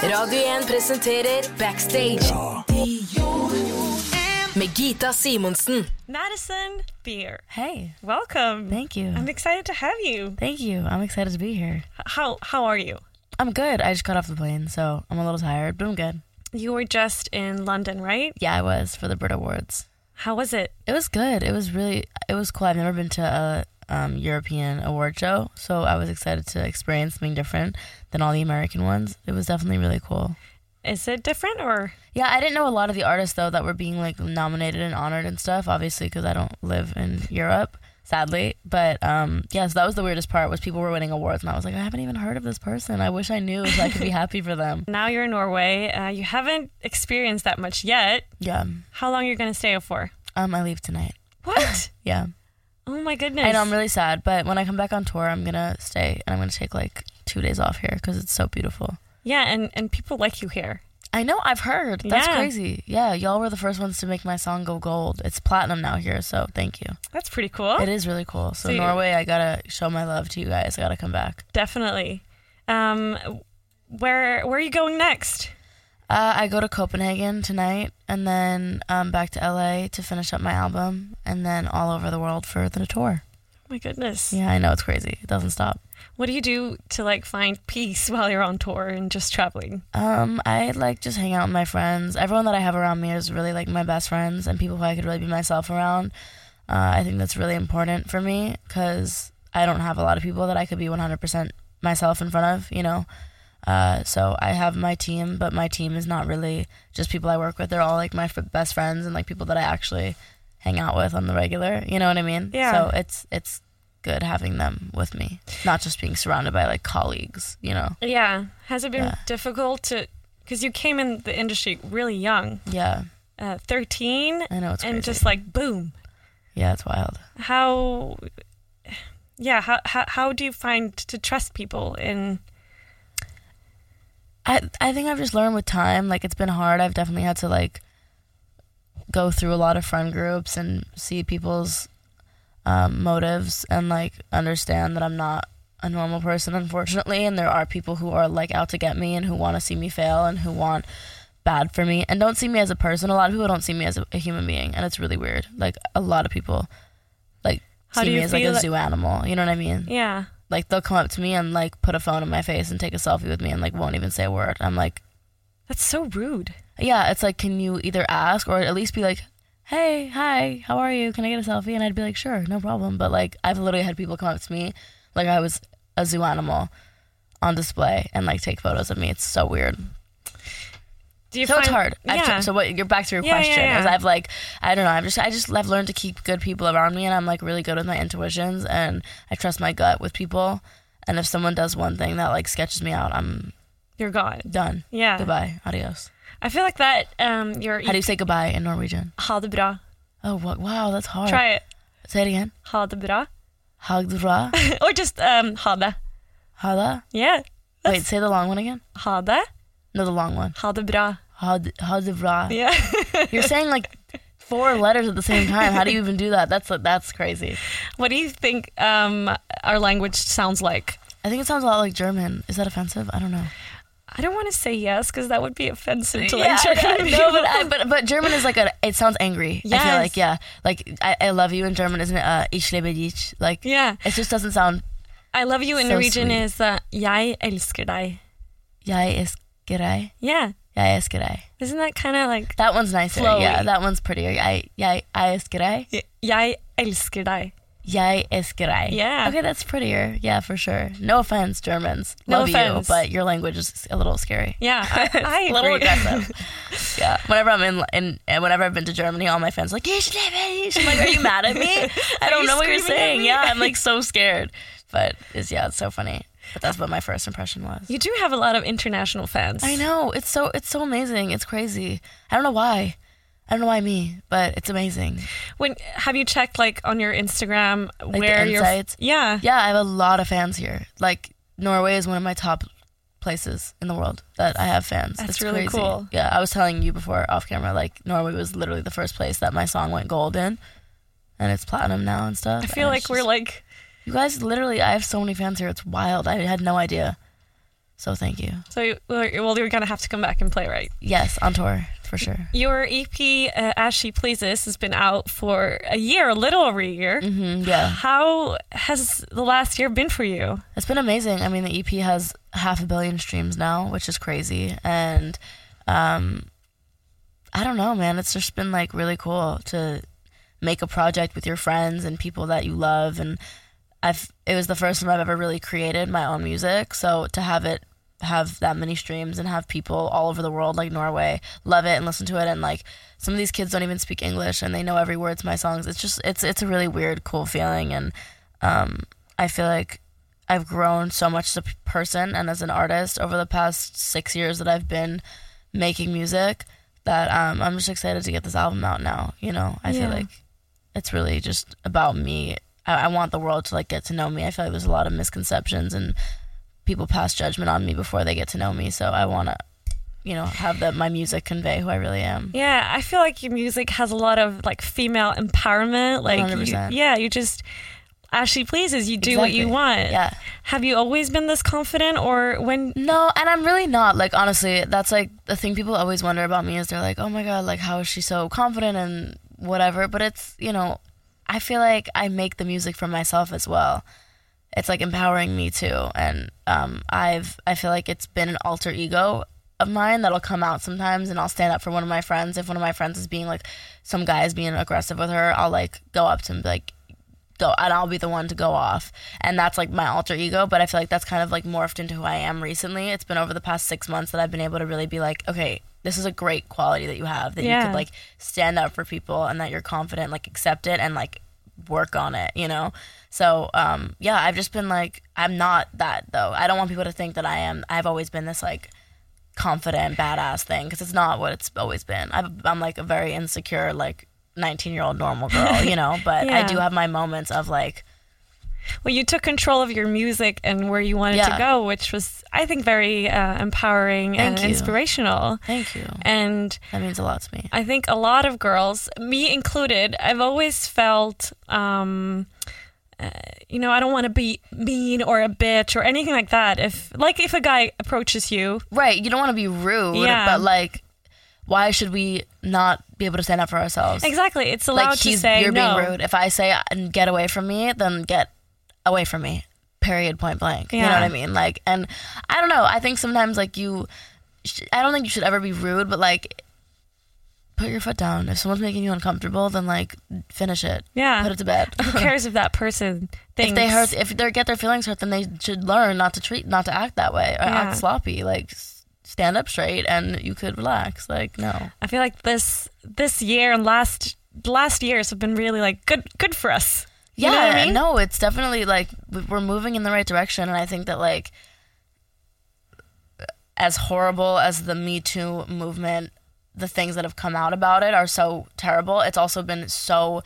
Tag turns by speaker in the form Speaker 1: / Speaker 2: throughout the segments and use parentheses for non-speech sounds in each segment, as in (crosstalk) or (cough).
Speaker 1: Radio 1 presenterer Backstage med Gita Simonsen.
Speaker 2: Madison Beer.
Speaker 3: Hey,
Speaker 2: Welcome.
Speaker 3: thank you.
Speaker 2: I'm excited to have you.
Speaker 3: thank you. I'm excited to be here.
Speaker 2: H- How how are you?
Speaker 3: I'm good. I just got off the plane, so I'm a little tired, but I'm good.
Speaker 2: You were just in London, right?
Speaker 3: Yeah, I was for the Brit Awards.
Speaker 2: How was it?
Speaker 3: It was good. It was really, it was cool. I've never been to a um, European award show, so I was excited to experience something different than all the American ones. It was definitely really cool.
Speaker 2: Is it different or
Speaker 3: Yeah, I didn't know a lot of the artists though that were being like nominated and honored and stuff. Obviously, because I don't live in Europe, sadly. But um, yeah, so that was the weirdest part was people were winning awards, and I was like, I haven't even heard of this person. I wish I knew so I could be happy for them.
Speaker 2: now you're in Norway? Uh, you haven't experienced that much yet.
Speaker 3: Yeah.
Speaker 2: How long you gonna stay for?
Speaker 3: Um, I leave tonight. (sighs)
Speaker 2: What?
Speaker 3: Yeah,
Speaker 2: oh my goodness!
Speaker 3: I know I'm really sad, but when I come back on tour, I'm gonna stay and I'm gonna take like two days off here because it's so beautiful.
Speaker 2: yeah, and and people like you here.
Speaker 3: I know, I've heard. That's
Speaker 2: Yeah.
Speaker 3: crazy. Yeah, y'all were the first ones to make my song go gold. It's platinum now here, so thank you.
Speaker 2: That's pretty cool.
Speaker 3: It is really cool.
Speaker 2: So
Speaker 3: So,
Speaker 2: you-
Speaker 3: Norway, I gotta show my love to you guys. I gotta come back.
Speaker 2: Definitely. Um, where where are you going next?
Speaker 3: Uh, I go to Copenhagen tonight, and then um, back to LA to finish up my album, and then all over the world for the tour.
Speaker 2: Oh my goodness!
Speaker 3: Yeah, I know it's crazy. It doesn't stop.
Speaker 2: What do you do to like find peace while you're on tour and just traveling?
Speaker 3: Um, I like just hang out with my friends. Everyone that I have around me is really like my best friends and people who I could really be myself around. Uh, I think that's really important for me because I don't have a lot of people that I could be 100% myself in front of, you know? Uh, so I have my team, but my team is not really just people I work with. They're all like my f- best friends and like people that I actually hang out with on the regular. You know what I mean?
Speaker 2: Yeah.
Speaker 3: So it's, it's good having them with me, not just being surrounded by like colleagues, you know?
Speaker 2: Yeah. Has it been
Speaker 3: Yeah.
Speaker 2: difficult to? Because you came in the industry really young,
Speaker 3: Yeah.
Speaker 2: uh, 13,
Speaker 3: I know it's
Speaker 2: and
Speaker 3: crazy.
Speaker 2: just like boom.
Speaker 3: Yeah, it's wild.
Speaker 2: How? Yeah. How, how how do you find to trust people in?
Speaker 3: I I think I've just learned with time. Like it's been hard. I've definitely had to like go through a lot of friend groups and see people's um, motives and like understand that I'm not a normal person, unfortunately. And there are people who are like out to get me and who want to see me fail and who want bad for me and don't see me as a person. A lot of people don't see me as a, a human being, and it's really weird. Like a lot of people like
Speaker 2: How do
Speaker 3: see me
Speaker 2: you
Speaker 3: as like
Speaker 2: feel
Speaker 3: a
Speaker 2: that-
Speaker 3: zoo animal. You know what I mean?
Speaker 2: Yeah.
Speaker 3: like they'll come up to me and like put a phone in my face and take a selfie with me and like won't even say a word. I'm like,
Speaker 2: That's so rude.
Speaker 3: yeah, it's like can you either ask or at least be like, hey, hi, how are you? Can I get a selfie? And I'd be like, sure, no problem. But like I've literally had people come up to me like I was a zoo animal on display and like take photos of me. It's so weird.
Speaker 2: Do you
Speaker 3: So it's
Speaker 2: find-
Speaker 3: hard. I've
Speaker 2: Yeah.
Speaker 3: tr- so what? You're back to your
Speaker 2: Yeah, yeah,
Speaker 3: question.
Speaker 2: yeah.
Speaker 3: Is I've like I don't know. I've just I just I've learned to keep good people around me, and I'm like really good with my intuitions, and I trust my gut with people. And if someone does one thing that like sketches me out, I'm
Speaker 2: You're gone.
Speaker 3: done.
Speaker 2: Yeah.
Speaker 3: Goodbye. Adios.
Speaker 2: I feel like that. Um. Your
Speaker 3: How do you say goodbye in Norwegian?
Speaker 2: ha det bra.
Speaker 3: Oh, what? Wow, that's hard.
Speaker 2: Try it.
Speaker 3: Say it again.
Speaker 2: Ha det bra. (laughs)
Speaker 3: Hagdra.
Speaker 2: or just um ha det.
Speaker 3: Hala.
Speaker 2: Yeah.
Speaker 3: Wait, say the long one again.
Speaker 2: Ha det.
Speaker 3: No, the long one.
Speaker 2: Ha det bra.
Speaker 3: Had- Hadvra.
Speaker 2: Yeah. (laughs)
Speaker 3: You're saying like four letters at the same time. How do you even do that? That's that's crazy.
Speaker 2: what do you think um our language sounds like?
Speaker 3: I think it sounds a lot like German. Is that offensive? I don't know.
Speaker 2: I don't want to say yes because that would be offensive to like (laughs)
Speaker 3: Yeah,
Speaker 2: German
Speaker 3: yeah, no,
Speaker 2: people.
Speaker 3: but, (laughs) I, but but German is like a. It sounds angry. I feel
Speaker 2: Yes.
Speaker 3: like yeah, like I, I love you in German, isn't it? Uh, ich liebe dich. Like
Speaker 2: Yeah.
Speaker 3: it just doesn't sound.
Speaker 2: I love you in
Speaker 3: So
Speaker 2: Norwegian
Speaker 3: sweet.
Speaker 2: is uh, jeg elsker deg.
Speaker 3: Jeg elsker deg.
Speaker 2: Yeah,
Speaker 3: Jeg elsker deg.
Speaker 2: isn't that kind of like
Speaker 3: That one's nicer.
Speaker 2: Flowy.
Speaker 3: Yeah, that one's prettier. Jeg jeg jeg elsker deg.
Speaker 2: jeg elsker deg?
Speaker 3: Jeg elsker deg.
Speaker 2: Yeah.
Speaker 3: Okay, that's prettier. Yeah, for sure. No offense, Germans.
Speaker 2: No
Speaker 3: love
Speaker 2: offense.
Speaker 3: you, but your language is a little scary. (laughs)
Speaker 2: Yeah, I, I
Speaker 3: a little
Speaker 2: agree. (laughs)
Speaker 3: aggressive. yeah. Whenever I'm in, in and whenever I've been to Germany, all my fans are like, "Ich liebe dich." I'm like, "Are you
Speaker 2: (laughs)
Speaker 3: mad at me? I
Speaker 2: you
Speaker 3: don't know what you're
Speaker 2: screaming at (laughs)
Speaker 3: saying."
Speaker 2: me?
Speaker 3: Yeah, I'm like so scared. But it's yeah, it's so funny. But that's what my first impression was.
Speaker 2: You do have a lot of international fans.
Speaker 3: I know. It's so it's so amazing. It's crazy. I don't know why. I don't know why me, but it's amazing.
Speaker 2: When have you checked like on your Instagram
Speaker 3: the
Speaker 2: where your
Speaker 3: insights?
Speaker 2: yeah
Speaker 3: Yeah, I have a lot of fans here. Like Norway is one of my top places in the world that I have fans.
Speaker 2: That's
Speaker 3: it's
Speaker 2: really
Speaker 3: crazy.
Speaker 2: cool.
Speaker 3: Yeah, I was telling you before off camera, like Norway was literally the first place that my song went gold in. And it's platinum now and stuff.
Speaker 2: I feel
Speaker 3: and
Speaker 2: like
Speaker 3: it's
Speaker 2: we're
Speaker 3: just-
Speaker 2: like
Speaker 3: You guys literally I have so many fans here, it's wild. I had no idea. So thank you.
Speaker 2: so you- well you're gonna have to come back and play right.
Speaker 3: Yes, on tour, for
Speaker 2: (laughs)
Speaker 3: sure.
Speaker 2: Your EP uh, As She Pleases has been out for a year, a little over a year.
Speaker 3: Mm, yeah.
Speaker 2: How has the last year been for you?
Speaker 3: It's been amazing. I mean, the EP has half a billion streams now, which is crazy. And um, I don't know, man. It's just been like really cool to make a project with your friends and people that you love. And I've it was the first time I've ever really created my own music. So to have it have that many streams and have people all over the world like Norway love it and listen to it and like some of these kids don't even speak English and they know every word to my songs. It's just it's it's a really weird cool feeling and um I feel like I've grown so much as a p- person and as an artist over the past six years that I've been making music that um, I'm just excited to get this album out now. You know, I
Speaker 2: Yeah.
Speaker 3: feel like it's really just about me. I, I want the world to like get to know me. I feel like there's a lot of misconceptions and people pass judgment on me before they get to know me. So I want to, you know, have that my music convey who I really am.
Speaker 2: Yeah, I feel like your music has a lot of like female empowerment. Like, you-
Speaker 3: 100%.
Speaker 2: yeah, you just as she pleases, you do what you
Speaker 3: Exactly.
Speaker 2: want.
Speaker 3: Yeah.
Speaker 2: Have you always been this confident, or when?
Speaker 3: No, and I'm really not. Like honestly, that's like the thing people always wonder about me is they're like, "Oh my god, like how is she so confident and whatever?" But it's, you know, I feel like I make the music for myself as well. It's like empowering me too, and um, I've I feel like it's been an alter ego of mine that'll come out sometimes, and I'll stand up for one of my friends. If one of my friends is being like, some guy is being aggressive with her, I'll like go up to him and be like, go and I'll be the one to go off. And that's like my alter ego, but I feel like that's kind of like morphed into who I am recently. It's been over the past 6 months that I've been able to really be like, okay, this is a great quality that you have that you
Speaker 2: Yeah.
Speaker 3: could like stand up for people and that you're confident, like accept it and like work on it, you know? So, um yeah, I've just been like I'm not that though. I don't want people to think that I am. I've always been this like confident badass thing because it's not what it's always been I've, i'm like a very insecure like 19 year old normal girl you know but
Speaker 2: Yeah.
Speaker 3: i do have my moments of like
Speaker 2: Well, you took control of your music and where you wanted to
Speaker 3: Yeah.
Speaker 2: go, which was, I think, very uh, empowering
Speaker 3: Thank
Speaker 2: and
Speaker 3: you.
Speaker 2: inspirational.
Speaker 3: thank you
Speaker 2: And
Speaker 3: that means a lot to me
Speaker 2: I think a lot of girls, me included, I've always felt, um, uh, you know, I don't want to be mean or a bitch or anything like that. If like if a guy approaches you,
Speaker 3: right you don't want to be rude
Speaker 2: Yeah.
Speaker 3: but like why should we not be able to stand up for ourselves
Speaker 2: exactly, it's allowed
Speaker 3: like
Speaker 2: to
Speaker 3: he's
Speaker 2: say
Speaker 3: you're
Speaker 2: no.
Speaker 3: being rude if i say "And get away from me then get away from me period point blank you know
Speaker 2: Yeah.
Speaker 3: what i mean like and i don't know i think sometimes like you sh- i don't think you should ever be rude but like put your foot down if someone's making you uncomfortable then like finish it
Speaker 2: Yeah.
Speaker 3: put it to
Speaker 2: (laughs)
Speaker 3: bed (laughs)
Speaker 2: Who cares if that person thinks
Speaker 3: if they hurt if they get their feelings hurt then they should learn not to treat not to act that way or
Speaker 2: Yeah.
Speaker 3: act sloppy like s- stand up straight and you could relax like no
Speaker 2: I feel like this this year and last last years have been really like good good for us.
Speaker 3: Yeah,
Speaker 2: you know what I mean?
Speaker 3: no, it's definitely like we- we're moving in the right direction, and I think that like as horrible as the Me Too movement, the things that have come out about it are so terrible. It's also been so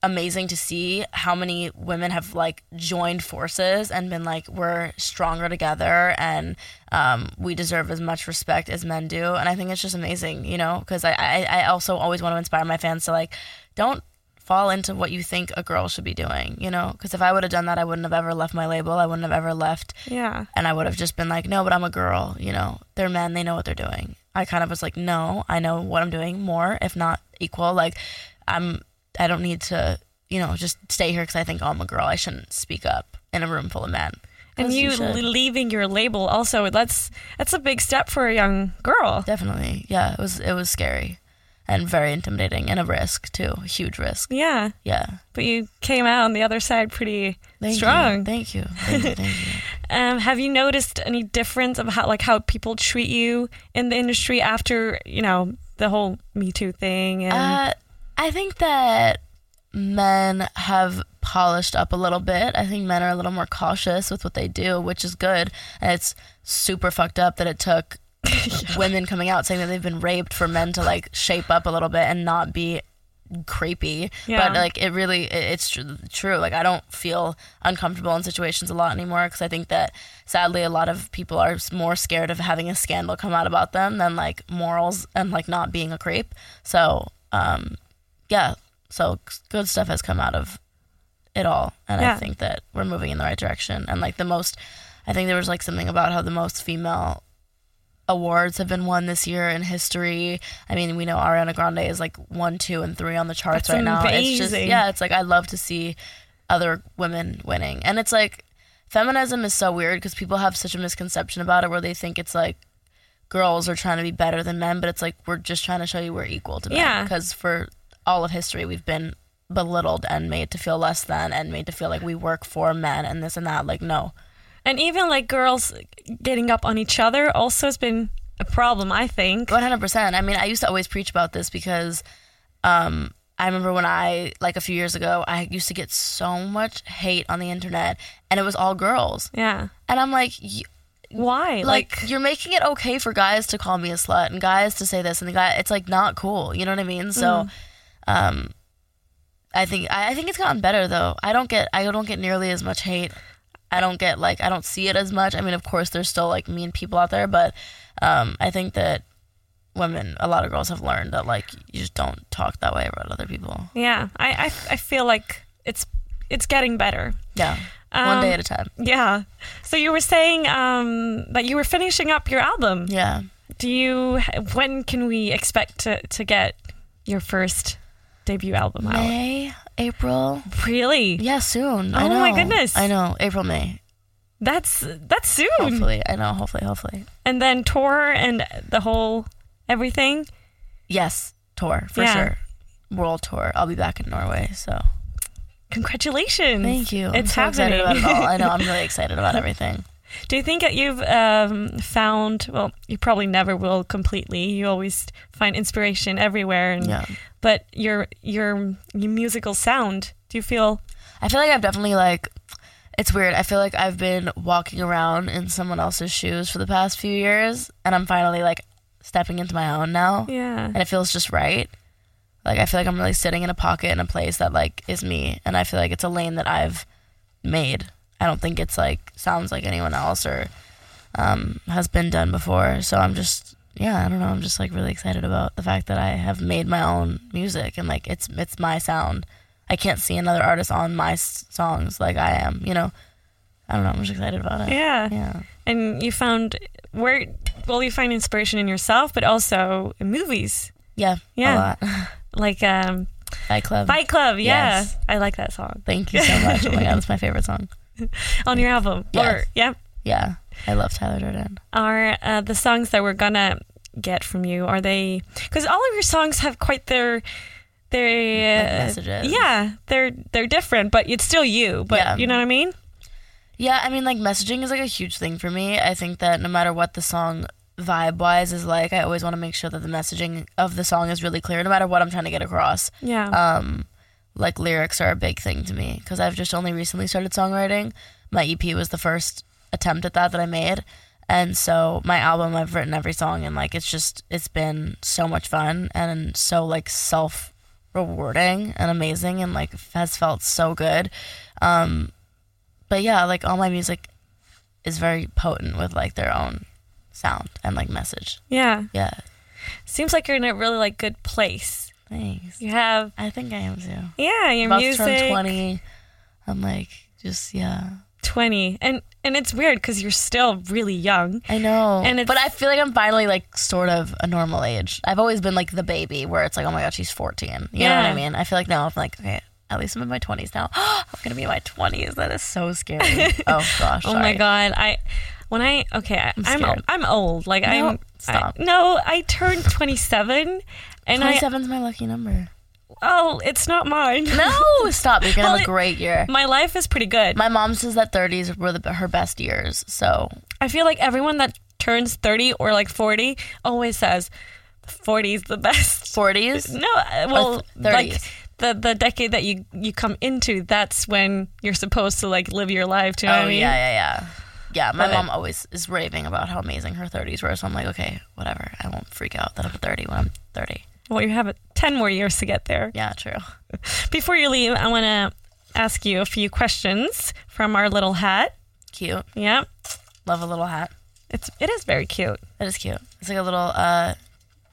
Speaker 3: amazing to see how many women have like joined forces and been like we're stronger together and um, we deserve as much respect as men do and i think it's just amazing you know because I, I i also always want to inspire my fans to like don't fall into what you think a girl should be doing you know because if i would have done that i wouldn't have ever left my label i wouldn't have ever left
Speaker 2: Yeah.
Speaker 3: and I would have just been like, no, but I'm a girl, you know, they're men, they know what they're doing. I kind of was like, no, I know what I'm doing more, if not equal. Like, I'm, I don't need to, you know, just stay here because I think oh, I'm a girl. I shouldn't speak up in a room full of men.
Speaker 2: And
Speaker 3: 'Cause
Speaker 2: you
Speaker 3: should.
Speaker 2: leaving your label also that's that's a big step for a young girl.
Speaker 3: definitely, yeah, it was, it was scary and very intimidating and a risk too, a huge risk.
Speaker 2: Yeah.
Speaker 3: Yeah.
Speaker 2: But you came out on the other side pretty
Speaker 3: Thank
Speaker 2: strong.
Speaker 3: You. Thank you. Thank you. Thank you.
Speaker 2: Um, have you noticed any difference of how like how people treat you in the industry after you know the whole Me Too thing? And
Speaker 3: Uh, I think Uh, that men have polished up a little bit. I think men are a little more cautious with what they do, which is good. And it's super fucked up that it took women coming out saying that they've been raped for men to like shape up a little bit and not be creepy
Speaker 2: Yeah.
Speaker 3: but like it really it, it's tr- true like i don't feel uncomfortable in situations a lot anymore because i think that sadly a lot of people are s- more scared of having a scandal come out about them than like morals and like not being a creep so um yeah so c- good stuff has come out of it all and
Speaker 2: Yeah.
Speaker 3: i think that we're moving in the right direction and like the most i think there was like something about how the most female awards have been won this year in history. I mean, we know Ariana Grande is like one, two, and three on the charts
Speaker 2: That's
Speaker 3: right now. It's just
Speaker 2: amazing.
Speaker 3: yeah, it's like I love to see other women winning, and it's like feminism is so weird because people have such a misconception about it where they think it's like girls are trying to be better than men, but it's like we're just trying to show you we're equal to men.
Speaker 2: Yeah.
Speaker 3: Because for all of history, we've been belittled and made to feel less than and made to feel like we work for men and this and that. Like no,
Speaker 2: And even like girls getting up on each other also has been a problem, I think.
Speaker 3: One hundred percent. I mean, I used to always preach about this because um, I remember when I like a few years ago, I used to get so much hate on the internet, and it was all girls,
Speaker 2: Yeah.
Speaker 3: and I'm like. y
Speaker 2: Why?
Speaker 3: like, you're making it okay for guys to call me a slut and guys to say this and the guy it's like not cool you know what i mean so
Speaker 2: Mm.
Speaker 3: um i think I, I think it's gotten better though i don't get i don't get nearly as much hate i don't get like i don't see it as much i mean of course there's still like mean people out there but um i think that women a lot of girls have learned that like you just don't talk that way about other people
Speaker 2: yeah. I, I, I feel like it's it's getting better.
Speaker 3: yeah one
Speaker 2: Um,
Speaker 3: day at a time
Speaker 2: Yeah. So you were saying um, that you were finishing up your album.
Speaker 3: yeah
Speaker 2: Do you? When can we expect to, to get your first debut album out?
Speaker 3: may april
Speaker 2: Really?
Speaker 3: yeah soon I
Speaker 2: Oh my
Speaker 3: know.
Speaker 2: goodness.
Speaker 3: i know april may
Speaker 2: That's that's soon.
Speaker 3: hopefully
Speaker 2: Mm.
Speaker 3: i know hopefully hopefully
Speaker 2: And then tour and the whole everything.
Speaker 3: Yes, tour for
Speaker 2: Yeah.
Speaker 3: sure. World tour. I'll be back in Norway. So
Speaker 2: Congratulations!
Speaker 3: thank you.
Speaker 2: It's
Speaker 3: I'm so
Speaker 2: happening.
Speaker 3: excited about it all. I know.
Speaker 2: (laughs)
Speaker 3: I'm really excited about everything.
Speaker 2: Do you think that you've um, found? Well, you probably never will completely. You always find inspiration everywhere. And,
Speaker 3: Yeah.
Speaker 2: But your your your musical sound. Do you feel?
Speaker 3: I feel like I've definitely like. It's weird. I feel like I've been walking around in someone else's shoes for the past few years, and I'm finally like stepping into my own now,
Speaker 2: Yeah.
Speaker 3: and it feels just right. Like I feel like I'm really sitting in a pocket in a place that like is me, and I feel like it's a lane that I've made. I don't think it's like sounds like anyone else or um, has been done before. So I'm just yeah, I don't know. I'm just like really excited about the fact that I have made my own music and like it's it's my sound. I can't see another artist on my s- songs like I am. You know, I don't know. I'm just excited about it.
Speaker 2: Yeah.
Speaker 3: Yeah.
Speaker 2: And you found where? Well, you find inspiration in yourself, but also in movies
Speaker 3: Yeah.
Speaker 2: Yeah.
Speaker 3: A lot. (laughs)
Speaker 2: like um,
Speaker 3: Fight Club.
Speaker 2: Fight Club. Yeah,
Speaker 3: Yes.
Speaker 2: I like that song
Speaker 3: Thank you so much. Oh
Speaker 2: (laughs)
Speaker 3: my god, that's my favorite song.
Speaker 2: on your album. Or
Speaker 3: Yes.
Speaker 2: yeah,
Speaker 3: Yeah. I love Tyler Durden.
Speaker 2: are uh, the songs that we're gonna get from you? Are they? Because all of your songs have quite their their
Speaker 3: Like
Speaker 2: uh,
Speaker 3: messages.
Speaker 2: Yeah, they're they're different, but it's still you. But
Speaker 3: Yeah.
Speaker 2: you know what I mean?
Speaker 3: Yeah, I mean, like messaging is like a huge thing for me. I think that no matter what the song vibe wise is like, I always want to make sure that the messaging of the song is really clear, no matter what I'm trying to get across.
Speaker 2: Yeah.
Speaker 3: Um, like lyrics are a big thing to me because I've just only recently started songwriting. My EP was the first attempt at that that I made, and so my album I've written every song and like it's just it's been so much fun and so like self rewarding and amazing and like has felt so good. Um, but yeah, like all my music is very potent with like their own sound and like message.
Speaker 2: yeah.
Speaker 3: Yeah,
Speaker 2: Seems like you're in a really like good place.
Speaker 3: thanks.
Speaker 2: You have
Speaker 3: I think I am too.
Speaker 2: yeah your
Speaker 3: about
Speaker 2: music
Speaker 3: to turn 20 i'm like just yeah
Speaker 2: 20. and and it's weird because you're still really young.
Speaker 3: i know
Speaker 2: And it's-
Speaker 3: but i feel like i'm finally like sort of a normal age i've always been like the baby where it's like oh my god she's 14 you know what
Speaker 2: Yeah.
Speaker 3: i mean i feel like now i'm like okay at least i'm in my 20s now (gasps) i'm gonna be in my 20s that is so scary
Speaker 2: (laughs)
Speaker 3: oh gosh
Speaker 2: Oh my god, I when I okay, I, I'm
Speaker 3: scared.
Speaker 2: I'm old. Like I'm
Speaker 3: stop.
Speaker 2: I, no, I turned 27 and I
Speaker 3: 27 is my lucky number
Speaker 2: oh, it's not mine.
Speaker 3: no (laughs) stop you're gonna
Speaker 2: Well,
Speaker 3: have
Speaker 2: it-
Speaker 3: a great year
Speaker 2: My life is pretty good.
Speaker 3: my mom says that 30s were the, her best years so
Speaker 2: I feel like everyone that turns 30 or like 40 always says 40 is the (laughs) best.
Speaker 3: 40s
Speaker 2: No, uh, well,
Speaker 3: th-
Speaker 2: like
Speaker 3: 30s.
Speaker 2: the the decade that you you come into, that's when you're supposed to like live your life. Do you
Speaker 3: Oh
Speaker 2: know what I mean?
Speaker 3: yeah, yeah, yeah. Yeah, my
Speaker 2: But-
Speaker 3: mom always is raving about how amazing her 30s were. So I'm like, okay, whatever. I won't freak out that I'm 30 when I'm 30.
Speaker 2: Well, you have uh, ten more years to get there.
Speaker 3: Yeah, true.
Speaker 2: Before you leave, I want to ask you a few questions from our little hat.
Speaker 3: Cute.
Speaker 2: Yeah,
Speaker 3: Love a little hat.
Speaker 2: it's it is very cute.
Speaker 3: That is cute. It's like a little uh,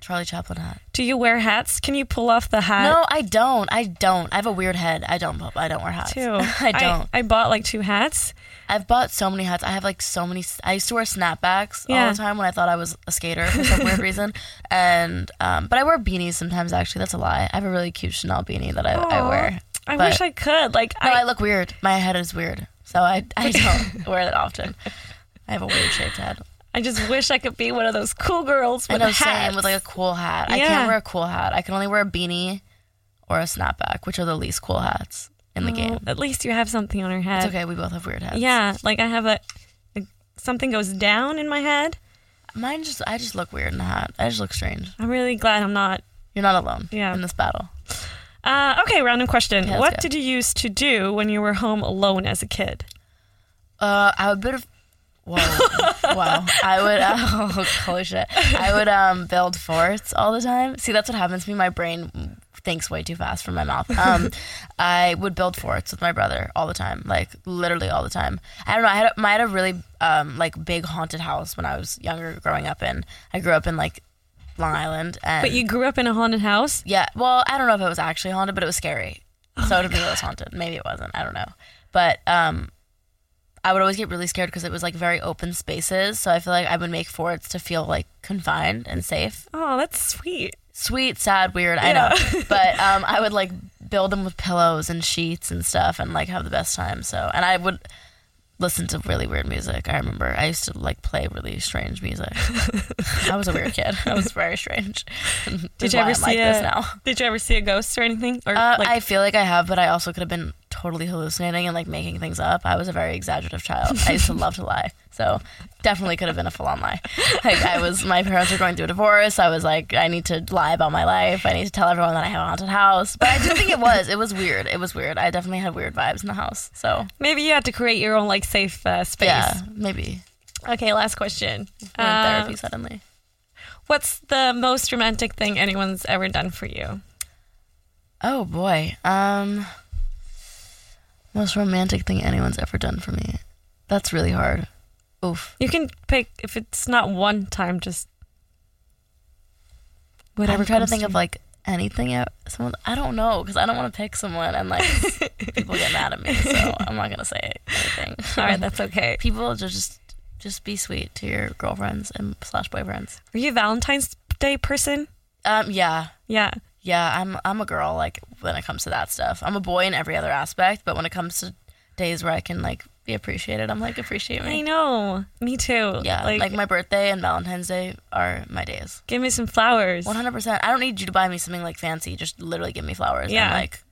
Speaker 3: Charlie Chaplin hat.
Speaker 2: Do you wear hats? Can you pull off the hat?
Speaker 3: No, I don't. I don't. I have a weird head. I don't. I don't wear hats.
Speaker 2: Too.
Speaker 3: (laughs) I don't.
Speaker 2: I, bought like two hats.
Speaker 3: I've bought so many hats. I have like so many. I used to wear snapbacks all
Speaker 2: Yeah.
Speaker 3: the time when I thought I was a skater for
Speaker 2: (laughs)
Speaker 3: some weird reason. And um, but I wear beanies sometimes. Actually, that's a lie. I have a really cute Chanel beanie that I, I wear.
Speaker 2: I
Speaker 3: But-
Speaker 2: wish I could. Like
Speaker 3: No, I
Speaker 2: I,
Speaker 3: look weird. My head is weird, so I I
Speaker 2: (laughs)
Speaker 3: don't wear that often. I have a weird shaped head.
Speaker 2: I just wish I could be one of those cool girls
Speaker 3: I
Speaker 2: with
Speaker 3: know
Speaker 2: hats.
Speaker 3: same with like a cool hat. I
Speaker 2: Yeah.
Speaker 3: can't wear a cool hat. I can only wear a beanie or a snapback, which are the least cool hats in the game.
Speaker 2: Well, Mm, at least you have something on her head.
Speaker 3: It's okay. We both have weird heads.
Speaker 2: Oh, Yeah, like I have a, a- something goes down in my head.
Speaker 3: mine just I just look weird in a hat. I just look strange.
Speaker 2: I'm really glad I'm not.
Speaker 3: You're not alone.
Speaker 2: Yeah.
Speaker 3: in this battle.
Speaker 2: Uh, okay, random question.
Speaker 3: Okay, let's
Speaker 2: what
Speaker 3: go.
Speaker 2: did you used to do when you were home alone as a kid?
Speaker 3: Uh, I would bit of.
Speaker 2: (laughs)
Speaker 3: Whoa! wow. I would. (laughs) Oh, holy shit! I would um build forts all the time. See, that's what happens to me. My brain thinks way too fast from my mouth.
Speaker 2: (laughs)
Speaker 3: Um, I would build forts with my brother all the time, like literally all the time. I don't know. I had a, I had a really um like big haunted house when I was younger, growing up in. I grew up in like Long Island, and
Speaker 2: But you grew up in a haunted house.
Speaker 3: yeah. Well, I don't know if it was actually haunted, but it was scary.
Speaker 2: Oh
Speaker 3: so to me, it was haunted. Maybe it wasn't. I don't know. But um, I would always get really scared because it was like very open spaces. So I feel like I would make forts to feel like confined and safe.
Speaker 2: Oh, that's sweet.
Speaker 3: Sweet, sad, weird.
Speaker 2: (laughs)
Speaker 3: I know. but um, I would like build them with pillows and sheets and stuff, and like have the best time. So and I would listen to really weird music. I remember I used to like play really strange
Speaker 2: (laughs)
Speaker 3: music. I was a weird kid. (laughs) I was very strange.
Speaker 2: Did you ever see
Speaker 3: like
Speaker 2: a,
Speaker 3: this now?
Speaker 2: (laughs) Did you ever see a ghost or anything? Or
Speaker 3: Uh,
Speaker 2: like,
Speaker 3: I feel like I have, but I also could have been totally hallucinating and like making things up. I was a very exaggerative child. I used to love to lie, so definitely could have been a full-on lie. (laughs) Like I was, my parents were going through a divorce. I was like, I need to lie about my life. I need to tell everyone that I have a haunted house. But I do think it was. It was weird. It was weird. I definitely had weird vibes in the house. So
Speaker 2: maybe you had to create your own like safe uh, space.
Speaker 3: yeah, maybe
Speaker 2: Okay, last question.
Speaker 3: we're in
Speaker 2: Uh,
Speaker 3: therapy suddenly.
Speaker 2: what's the most romantic thing anyone's ever done for you?
Speaker 3: Oh boy. Um most romantic thing anyone's ever done for me. That's really hard. Oof.
Speaker 2: You can pick if it's not one time, just whatever.
Speaker 3: I'm trying to
Speaker 2: comes
Speaker 3: think of like anything. I- Someone I don't know because I don't want to pick someone
Speaker 2: (laughs)
Speaker 3: and like people get mad at me, so I'm not gonna say
Speaker 2: (laughs)
Speaker 3: anything.
Speaker 2: All right, that's okay.
Speaker 3: people ju- just just be sweet to your girlfriends and slash boyfriends.
Speaker 2: Are you a Valentine's Day person?
Speaker 3: Um, yeah,
Speaker 2: Yeah.
Speaker 3: yeah. I'm I'm a girl. Like when it comes to that stuff, I'm a boy in every other aspect. But when it comes to days where I can like be appreciated, I'm like appreciate
Speaker 2: I
Speaker 3: me.
Speaker 2: know. Me too.
Speaker 3: Yeah,
Speaker 2: Like,
Speaker 3: like, my birthday and Valentine's Day are my days.
Speaker 2: give me some flowers.
Speaker 3: 100%. I don't need you to buy me something like fancy. Just literally give me flowers
Speaker 2: Yeah.
Speaker 3: and like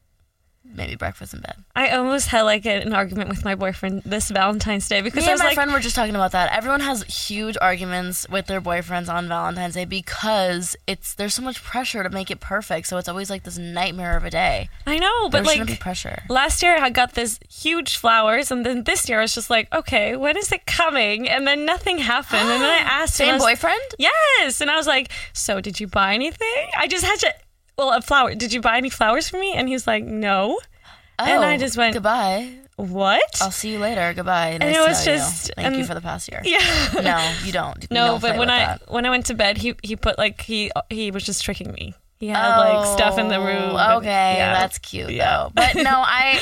Speaker 3: maybe breakfast in bed.
Speaker 2: I almost had like an argument with my boyfriend this Valentine's Day because I
Speaker 3: Me and
Speaker 2: was
Speaker 3: my
Speaker 2: like,
Speaker 3: friend were just talking about that. Everyone has huge arguments with their boyfriends on Valentine's Day because it's there's so much pressure to make it perfect. So it's always like this nightmare of a day.
Speaker 2: I know,
Speaker 3: There
Speaker 2: but
Speaker 3: shouldn't be
Speaker 2: like
Speaker 3: pressure.
Speaker 2: last year I got this huge flowers, and then this year I was just like, okay, when is it coming? And then nothing happened. and then
Speaker 3: (gasps)
Speaker 2: I asked him, I
Speaker 3: Same
Speaker 2: was-
Speaker 3: boyfriend?
Speaker 2: Yes, and I was like, so did you buy anything? I just had to. Well, a flower. Did you buy any flowers for me? And he was like, no. and I
Speaker 3: Oh,
Speaker 2: just went,
Speaker 3: goodbye.
Speaker 2: what?
Speaker 3: I'll see you later. Goodbye. Nice
Speaker 2: it
Speaker 3: to
Speaker 2: was
Speaker 3: know you.
Speaker 2: just-
Speaker 3: thank you
Speaker 2: and-
Speaker 3: for the past (laughs) year.
Speaker 2: (laughs) yeah.
Speaker 3: No, you don't.
Speaker 2: No,
Speaker 3: Don't
Speaker 2: but
Speaker 3: play
Speaker 2: when
Speaker 3: with
Speaker 2: I
Speaker 3: that.
Speaker 2: when I went to bed, he he put like he he was just tricking me. He had like stuff in the
Speaker 3: Oh,
Speaker 2: room. and-
Speaker 3: Okay,
Speaker 2: yeah.
Speaker 3: that's cute
Speaker 2: Yeah.
Speaker 3: though.
Speaker 2: (laughs)
Speaker 3: But no, I.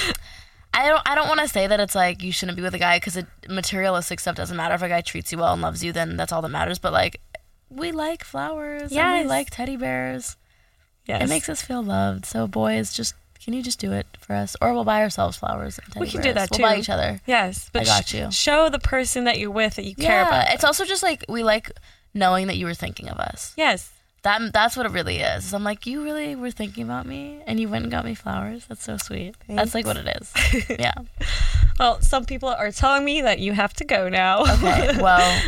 Speaker 3: I don't. I don't want to say that it's like you shouldn't be with a guy because materialistic stuff doesn't matter. If a guy treats you well and loves you, then that's all that matters. But like, we like flowers. Yeah,
Speaker 2: Yes.
Speaker 3: we like teddy bears.
Speaker 2: Yes.
Speaker 3: It makes us feel loved. So boys, just can you just do it for us, or we'll buy ourselves flowers. And teddy
Speaker 2: we can do
Speaker 3: bears.
Speaker 2: that too.
Speaker 3: We'll buy each other.
Speaker 2: Yes, but
Speaker 3: I got
Speaker 2: sh-
Speaker 3: you.
Speaker 2: show the person that you're with that you care
Speaker 3: yeah,
Speaker 2: about.
Speaker 3: it's also just like we like knowing that you were thinking of us.
Speaker 2: yes.
Speaker 3: That that's what it really is. I'm like, you really were thinking about me, and you went and got me flowers. That's so sweet. That's like what it
Speaker 2: (laughs)
Speaker 3: is. yeah.
Speaker 2: Well, some people are telling me that you have to go now.
Speaker 3: Okay. Well,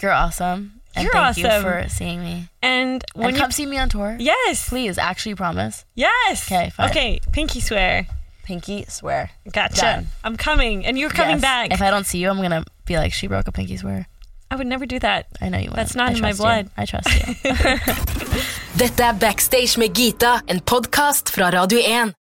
Speaker 3: you're awesome. And
Speaker 2: You're
Speaker 3: thank you
Speaker 2: awesome.
Speaker 3: for seeing me.
Speaker 2: (laughs) And when
Speaker 3: and
Speaker 2: you
Speaker 3: come see me on tour.
Speaker 2: yes,
Speaker 3: Please, actually promise.
Speaker 2: yes.
Speaker 3: Okay, fine.
Speaker 2: Okay, pinky swear.
Speaker 3: Pinky swear.
Speaker 2: Gotcha.
Speaker 3: Done.
Speaker 2: I'm coming, and you're coming
Speaker 3: Yes.
Speaker 2: back.
Speaker 3: If I don't see you, I'm gonna be like, she broke a pinky swear.
Speaker 2: I would never do that.
Speaker 3: I know you wouldn't.
Speaker 2: That's not
Speaker 3: I
Speaker 2: in my
Speaker 3: trust you.
Speaker 2: blood.
Speaker 3: I
Speaker 2: (laughs)
Speaker 3: trust you.
Speaker 4: Dette er Backstage med Gita, en podkast fra Radio 1.